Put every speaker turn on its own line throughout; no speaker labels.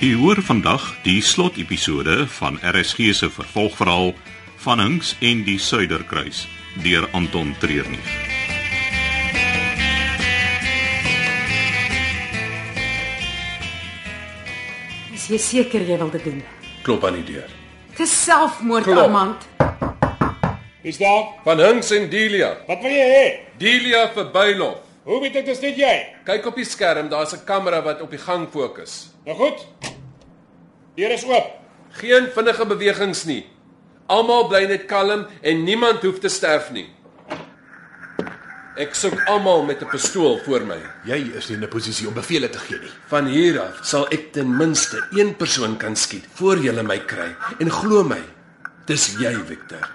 U hoor vandag die slotepisode van RSG se vervolgverhaal van Hinks en die Suiderkruis deur Anton Treurnig.
Is jy seker jy wil dit doen?
Klop aan die deur.
Dis selfmoord,
Klop.
Armand.
Is daar?
Van Hinks en Delia.
Wat wil jy hê?
Delia verbylof.
Hoe weet ek dis net jy?
Kyk op die skerm, daar's 'n kamera wat op die gang fokus.
Nou goed. Deur is oop.
Geen vinnige bewegings nie. Almal bly net kalm en niemand hoef te sterf nie. Ek soek almal met 'n pistool voor my.
Jy is nie in 'n posisie om bevele te gee nie.
Van hier af sal ek ten minste een persoon kan skiet voor jy my kry. En glo my, dis jy, Victor.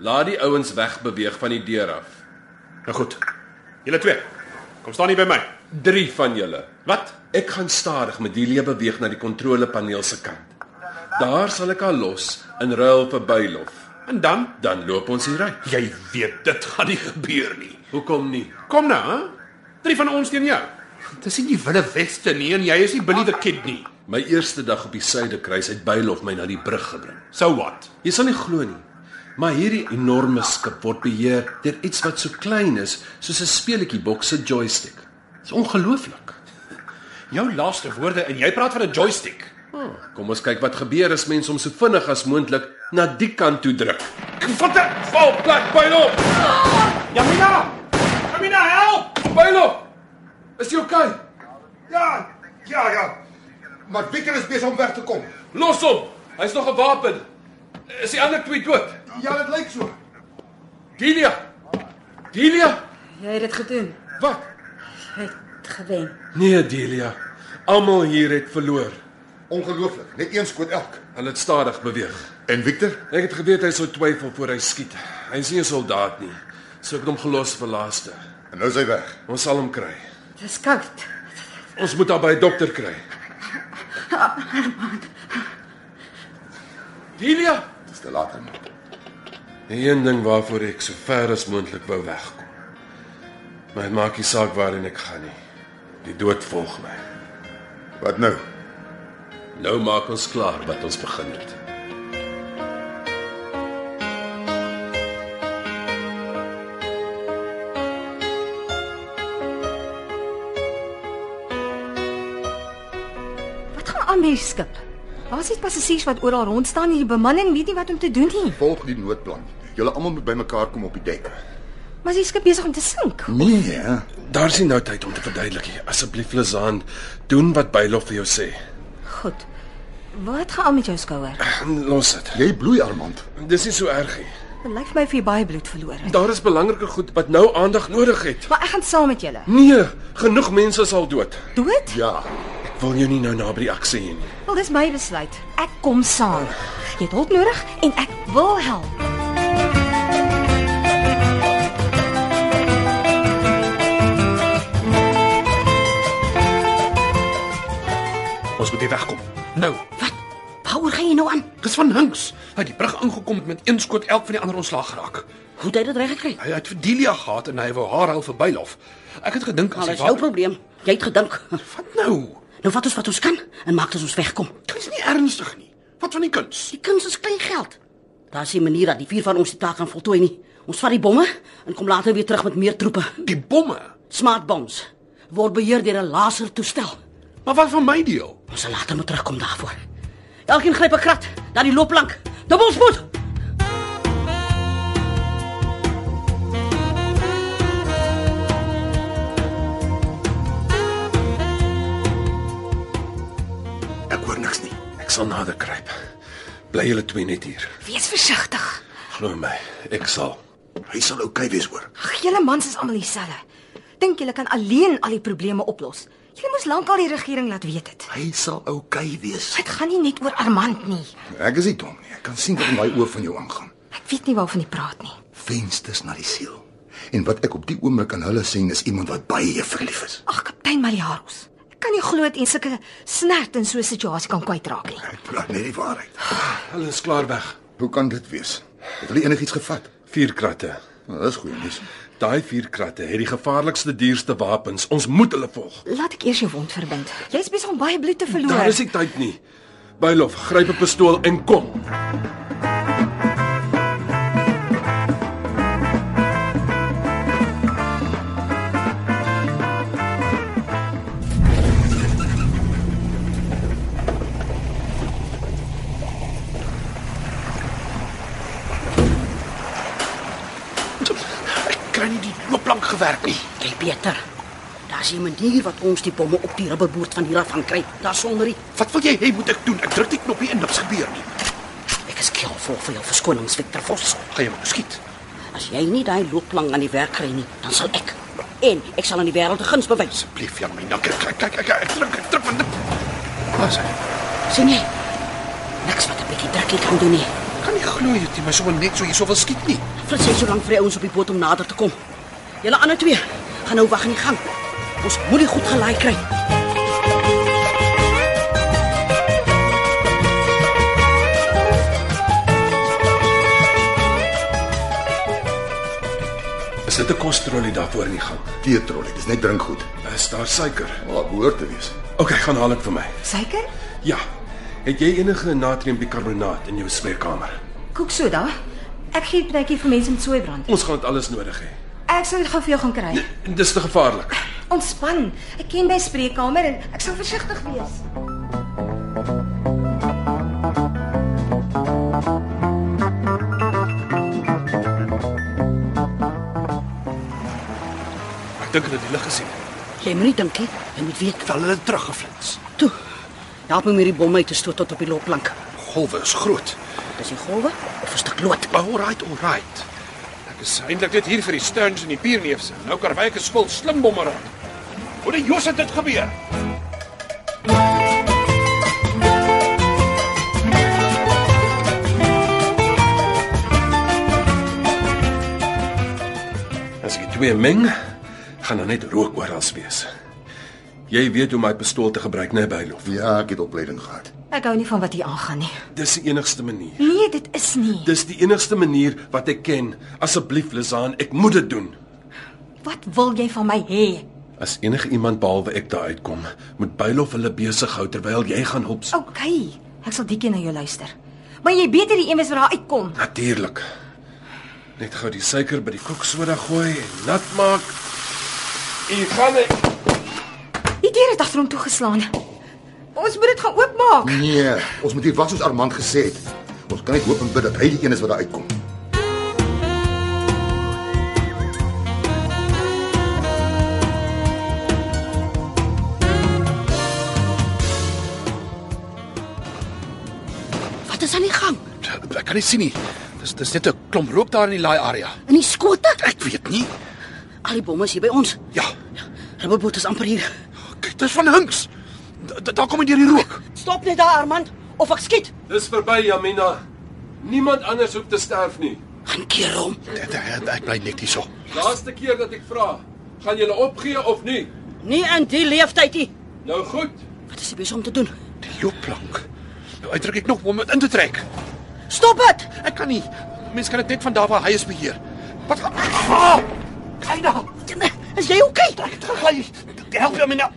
Laat die ouens wegbeweeg van die deur af.
Nou goed.
Julle twee. Kom staan hier by my.
Drie van julle.
Wat?
Ek gaan stadig met die lewe beweeg na die kontrolepaneel se kant. Daar sal ek haar los in ruil vir bylof.
En dan,
Dan loop ons hier uit.
jy weet dit gaan nie gebeur nie.
Hoekom nie?
Kom nou, hè? Drie van ons teen jou. Dis nie die Wille Weste nie en jy is nie Billy the Kid nie.
My eerste dag op die suidekruis het bylof my na die brug gebring.
So what?
Jy sal nie glo nie. Maar hierdie enorme skip word beheer deur iets wat so klein is soos 'n speletjie boks se joystick. Dit is ongelooflik.
Jou laaste woorde en jy praat van 'n joystick.
Oh, kom ons kyk wat gebeur as mens hom so vinnig as moontlik na die kant toe druk.
Vat dit, val plek by hom. Ja,
Jamina! Jamina, help!
Bylof! Is jy oukei? Okay?
Ja, ja, ja. Maar Victor is besig om weg te kom.
Los hom. Hy's nog gewapen. Is die ander twee dood?
Ja, dit lyk so.
Delia. Delia?
Jy het dit gedoen.
Wat?
Jy het gewen.
Nee, Delia. Almal hier het verloor.
Ongelooflik. Net een skoot elk.
Hulle het stadig beweeg.
En Victor?
Ek het geweet hy sou twyfel voor hy skiet. Hy's nie 'n soldaat nie. So ek het hom gelos vir laaste.
En nou is hy weg.
Ons sal hom kry.
Dis koud.
Ons moet hom by 'n dokter kry. Delia,
Dis te laat hom.
Die een ding waarvoor ek so ver as moontlik wou wegkom. Maar dit maak nie saak waarheen ek gaan nie. Die dood volg my.
Wat nou?
Nou maak ons klaar wat ons begin het.
Wat gaan aan met die skip? Daar's net passasiers wat oral rond staan en die bemanning weet nie wat om te doen nie.
Volg die noodplan. Julle almal moet bymekaar kom op die dek.
Maar is die skip besig om te sink.
Nee, hè?
Daar's nie nou tyd om te verduidelik nie. Asseblief Lizaan, doen wat Bylof vir jou sê.
Goed. Wat gaan aan met jou skouer?
Los dit.
Jy bloei Armand.
Dis nie so erg nie.
Dit lyk vir my vir jy baie bloed verloor het.
Daar is belangriker goed wat nou aandag nodig het.
Maar ek gaan saam met julle.
Nee, genoeg mense is al dood.
Dood?
Ja.
Ek wil jou nie nou naby die aksie hê nie.
Wel, dis my besluit. Ek kom saam. Jy het hulp nodig en ek wil help.
Ons moet hier wegkom. Nou,
Waaroor gaan jy nou aan?
dis van Hinks. Hy het die brug aangekom en met een skoot elk van die ander ontslaag geraak.
Hoe het hy dit reg gekry?
Hy het vir Delia gehad en hy wou haar al verbylof. Ek het gedink as
Al
hy
is jou probleem. Jy het gedink.
Wat nou?
Nou vat ons wat ons kan en maak dat ons wegkom.
Dis nie ernstig nie. Wat van die kuns?
Die kuns is klein geld. Daar's 'n manier dat die vier van ons die taak gaan voltooi nie. Ons vat die bomme en kom later weer terug met meer troepe.
Die bomme.
Smart bombs word beheer deur 'n lasertoestel.
Maar wat van my deel?
Ons sal later moet terugkom daarvoor. Elkeen gryp 'n krat, dan die looplank. Dubbelspoed.
Ek hoor niks nie.
Ek sal nader kruip. Bly julle twee net hier.
Wees versigtig.
Glo my, ek sal.
Hy sal oukei okay wees hoor.
Ag, julle mans is almal dieselfde. Dink julle kan alleen al die probleme oplos. Julle moes lankal die regering laat weet het.
Hy sal oukei okay wees.
Dit gaan nie net oor Armand nie.
Ek is nie dom nie. Ek kan sien wat in daai oë van jou aangaan.
Ek weet nie waarvan jy praat nie.
Vensters na die siel. En wat ek op die oomblik aan hulle sien is iemand wat baie verlief is.
Ag, kaptein Maliaros. Ek kan nie glo dat jy sulke snert in so 'n situasie kan kwytraak nie.
Ek praat net die waarheid.
Hulle is klaar weg.
Hoe kan dit wees? Het hulle enigiets gevat?
Vier kratte.
Nou, dis goeie nuus.
Daai vier kratte het die gevaarlikste dierste wapens. Ons moet hulle volg.
Laat ek eers jou wond verbind. Jy's besig om baie bloed te verloor.
Daar is nie tyd nie. Bylof, gryp 'n pistool en kom.
Ek kry nie die loopplank gewerk nie.
Kyk beter. Daar's 'n manier wat ons die bomme op die rubberboord van hier af gaan kry. Daar sonder die
Wat wil jy hê moet ek doen? Ek druk die knoppie en niks gebeur nie.
ek is keel vol vir jou verskonings Victor Vos.
Gaan jy maar skiet.
As jy nie daai looplang aan die werk kry nie, dan sal ek en ek sal aan die wêreld 'n guns bewys.
Blief jang my nakker. Kyk, kyk, kyk, ek druk, ek druk van dit. Pas.
sien jy? Niks wat 'n bietjie drukkie kan doen nie.
Kan nie glo jy dit maar sommer net so hierso wil skiet nie.
Frits het so lank vir die ouens op die boot om nader te kom. Julle ander twee gaan nou wag in die gang. Ons moet die goed gelaai kry.
Is dit 'n kostrollie daarvoor in die gang?
Teetrollie, dis net drinkgoed.
Is daar suiker?
Maar behoort te wees.
OK, gaan haal dit vir my.
Suiker?
Ja. Het jy enige natriumbikarbonaat in jou smeerkamer?
Kook soda. Ek gee 'n plekkie vir mense met soebrand.
Ons gaan dit alles nodig hê.
Ek sal dit gou vir jou gaan kry.
En dis te gevaarlik.
Ontspan. Ek ken my spreekkamer en ek sal versigtig wees.
Ek dink hulle het die lig gesien.
Jy moenie dink nie, jy moet weet.
Val hulle teruggeflits.
Toe. Help my om hierdie bomme uit te stoot tot op die loopplank.
Golwe is groot.
Dis die golwe of 'n stuk lood.
Alright, alright. Ek is eintlik net hier vir die Stearns en die Pierneefse. Nou Karwyk is skuld slim bommer. Hoe die Jos het dit gebeur?
As ek die twee meng, gaan daar net rook oral wees. Jy weet hoe om my pistool te gebruik, né, Bylof?
Ja, ek het opleiding gehad.
Ek hou nie van wat hier aangaan nie.
Dis die enigste manier.
Nee, dit is nie.
Dis die enigste manier wat ek ken. Asseblief, Lizaan, ek moet dit doen.
Wat wil jy van my hê?
As enige iemand behalwe ek daar uitkom, moet Bylof hulle besig hou terwyl jy gaan hulp. soek.
OK, ek sal diekie na jou luister. Maar jy beter die een wees wat daar uitkom.
Natuurlik. Net gou die suiker by die koeksoda gooi en nat maak. Hier gaan ek.
Die deur het agter hom toegeslaan. Ons moet dit gaan oopmaak.
Nee, ons moet hier was soos Armand gesê het. Ons kan net hoop en bid dat hy die een is wat daar uitkom.
Wat is aan die gang?
Ek kan nie sien nie. Dis dis net 'n klomp rook daar in die laai area.
In die skote?
Ek weet nie.
Al die bomme is hier by ons.
Ja,
Rubberboot is amper hier.
kyk, dis van Hinks. Da- da- Daar kom dit deur die rook.
Stop net daar, Armand, of ek skiet.
Dis verby, Jamina. Niemand anders hoef te sterf nie.
Gaan keer hom.
Ek- Ek ek bly net hierso.
Laaste keer dat ek vra, gaan julle opgee of nie?
Nie in die leeftyd nie.
Nou goed.
Wat is besig om te doen?
Die loopplank. Nou uitdruk ek nog om dit in te trek.
Stop dit.
Ek kan nie. Mense kan dit net van daar waar hy is beheer. Wat gaan ah! Kyk daar.
Is jy oukei?
Ek het gegly. Help jou my nou.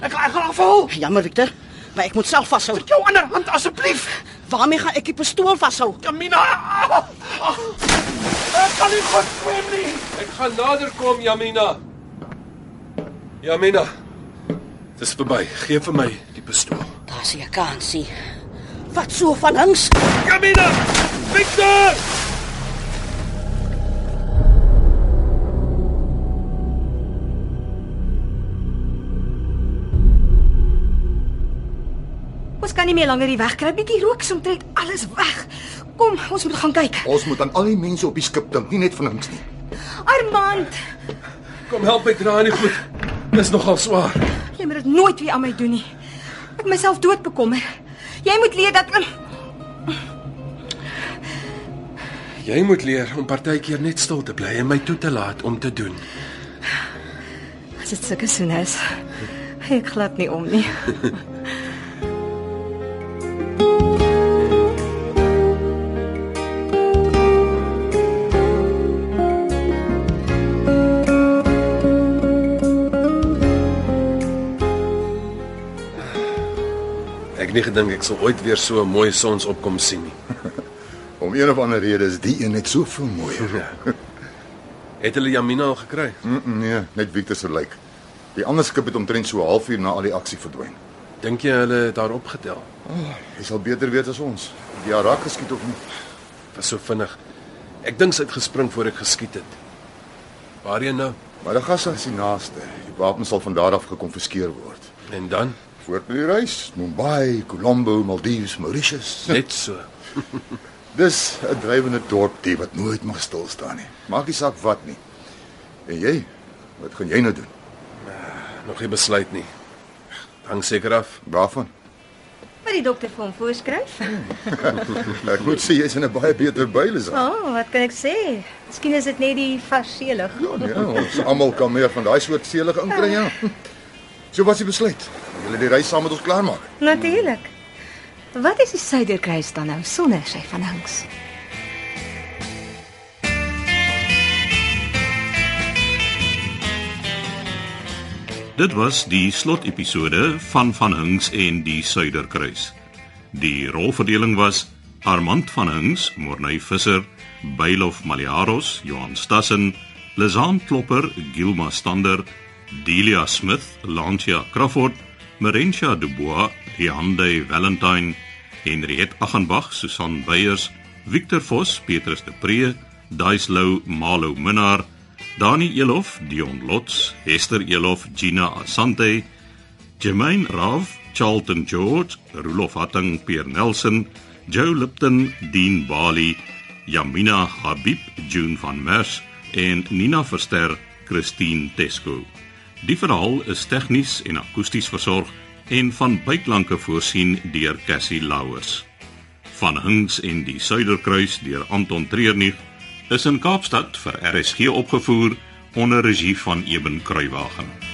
Ek ek gaan afval.
Jammer, Victor, maar ek moet self vashou.
Jou ander hand asseblief.
Waarmee gaan ek die pistool vashou?
Kamina. Ek kan nie goed swem nie.
Ek gaan nader kom, Jamina. Jamina. Dis verby. Gee vir my die pistool.
Daar's jy kan sien. Wat so van hangs?
Kamina. Victor!
Ons kan nie meer langer hier wegkruip nie. Die rook is omtrent alles weg. Kom, ons moet gaan kyk.
Ons moet aan al die mense op die skip dink, nie net van ons nie.
Armand,
Kom help my dra nie goed. Dis nogal swaar.
jy moet dit nooit weer aan my doen nie. Ek het myself dood bekommer. Jy moet leer dat um,
Jy moet leer om partykeer net stil te bly en my toe te laat om te doen.
as dit sulke soene is, gee ek glad nie om nie.
Ek het nie gedink ek sal ooit weer so 'n mooi sonsopkom sien nie.
Om een of ander rede is die een net soveel mooier.
Ja. Het hulle Jamina al gekry?
Mm, mm, nee, net Victor se lyk. Die ander skip het omtrent so 'n halfuur na al die aksie verdwyn.
Dink jy hulle het daar opgetel?
Hy sal beter weet as ons. Die Arak geskiet of nie.
Was so vinnig. Ek dink sy het gespring voor ek geskiet het. Waarheen nou?
Maar die gas is die naaste. Die wapens sal van daar af gekonfiskeer word.
En dan
Voort met die reis, Mumbai, Colombo, Maldives, Mauritius.
net so.
Dis 'n drywende dorpie wat nooit mag stil staan nie. Maak nie saak wat nie. En jy, wat gaan jy nou doen?
Nog nie besluit nie. Het Hang seker af.
Waarvan?
Wat die dokter vir hom voorskryf?
Ek moet sê jy's in 'n baie beter bylis.
O, oh, wat kan ek sê? Miskien is dit net die varseelig.
Ja, nee, ons almal kan meer van daai soort selige inkry, ja. So wat is die besluit? Wil jy die reis saam met ons klaarmaak?
Natuurlik. Wat is die suiderkruis dan nou sonder sy van hangs?
Dit was die slotepisode van Van Hinks en die Suiderkruis. Die rolverdeling was Armand van Hinks, Morney Visser, Bylof Maliaros, Johan Stassen, Lezaan Klopper, Gilma Stander, Delia Smith, Lancia Crawford, Marentia Dubois, Hyande Valentine, Henriet Aggenbach, Susan Beyers, Victor Vos, Petrus de Pre, Daislou Malo Minnar, Dani Elof, Dion Lots, Hester Elof, Gina Asante, Jermaine Raaf, Charlton George, Rolof Hatting, Pierre Nelson, Joe Lipton, Dean Bali, Yamina Habib, June van Merwe en Nina Verster, Christine Tesco. Die verhaal is tegnies en akoesties versorg en van byklanke voorsien deur Cassie Louwers. Van Hinks en die Suiderkruis deur Anton Treurnig is in Kaapstad vir RSG opgevoer onder regie van Eben Kruiwagen.